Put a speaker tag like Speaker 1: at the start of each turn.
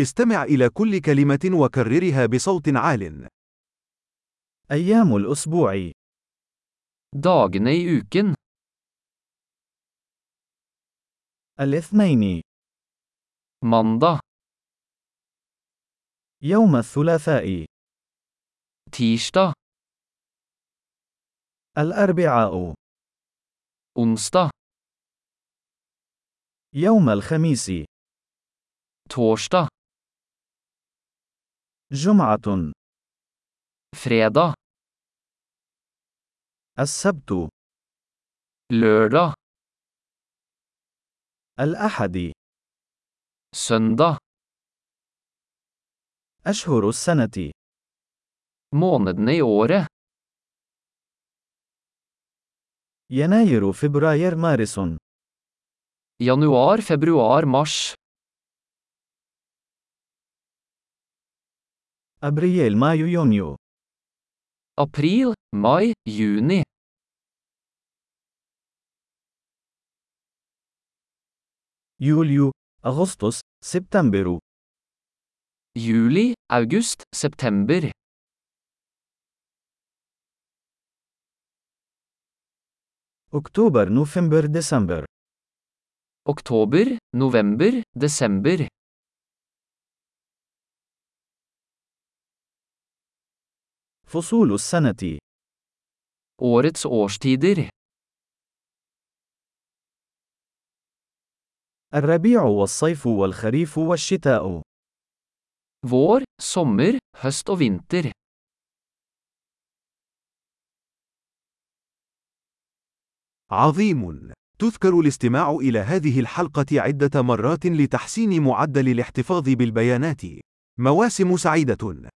Speaker 1: استمع إلى كل كلمة وكررها بصوت عال.
Speaker 2: أيام الأسبوع
Speaker 3: Dagene i uken.
Speaker 2: الاثنين
Speaker 3: Mandag,
Speaker 2: يوم الثلاثاء
Speaker 3: tirsdag,
Speaker 2: الأربعاء
Speaker 3: onsdag,
Speaker 2: يوم الخميس
Speaker 3: torsdag,
Speaker 2: جمعة
Speaker 3: fredag,
Speaker 2: السبت
Speaker 3: lørdag,
Speaker 2: الأحد
Speaker 3: søndag.
Speaker 2: أشهر السنة
Speaker 3: Månedene i året.
Speaker 2: يناير فبراير مارس
Speaker 3: Januar, februar, mars.
Speaker 2: أبريل مايو يونيو
Speaker 3: April, mai, juni.
Speaker 2: يوليو أغسطس سبتمبر
Speaker 3: Juli, august, september.
Speaker 2: أكتوبر نوفمبر ديسمبر
Speaker 3: Oktober, november, desember.
Speaker 2: فصول السنة
Speaker 3: Årets årstider.
Speaker 2: الربيع والصيف والخريف والشتاء
Speaker 3: Vår, sommer, høst og vinter.
Speaker 1: عظيم! تذكر الاستماع إلى هذه الحلقة عدة مرات لتحسين معدل الاحتفاظ بالبيانات. مواسم سعيدة!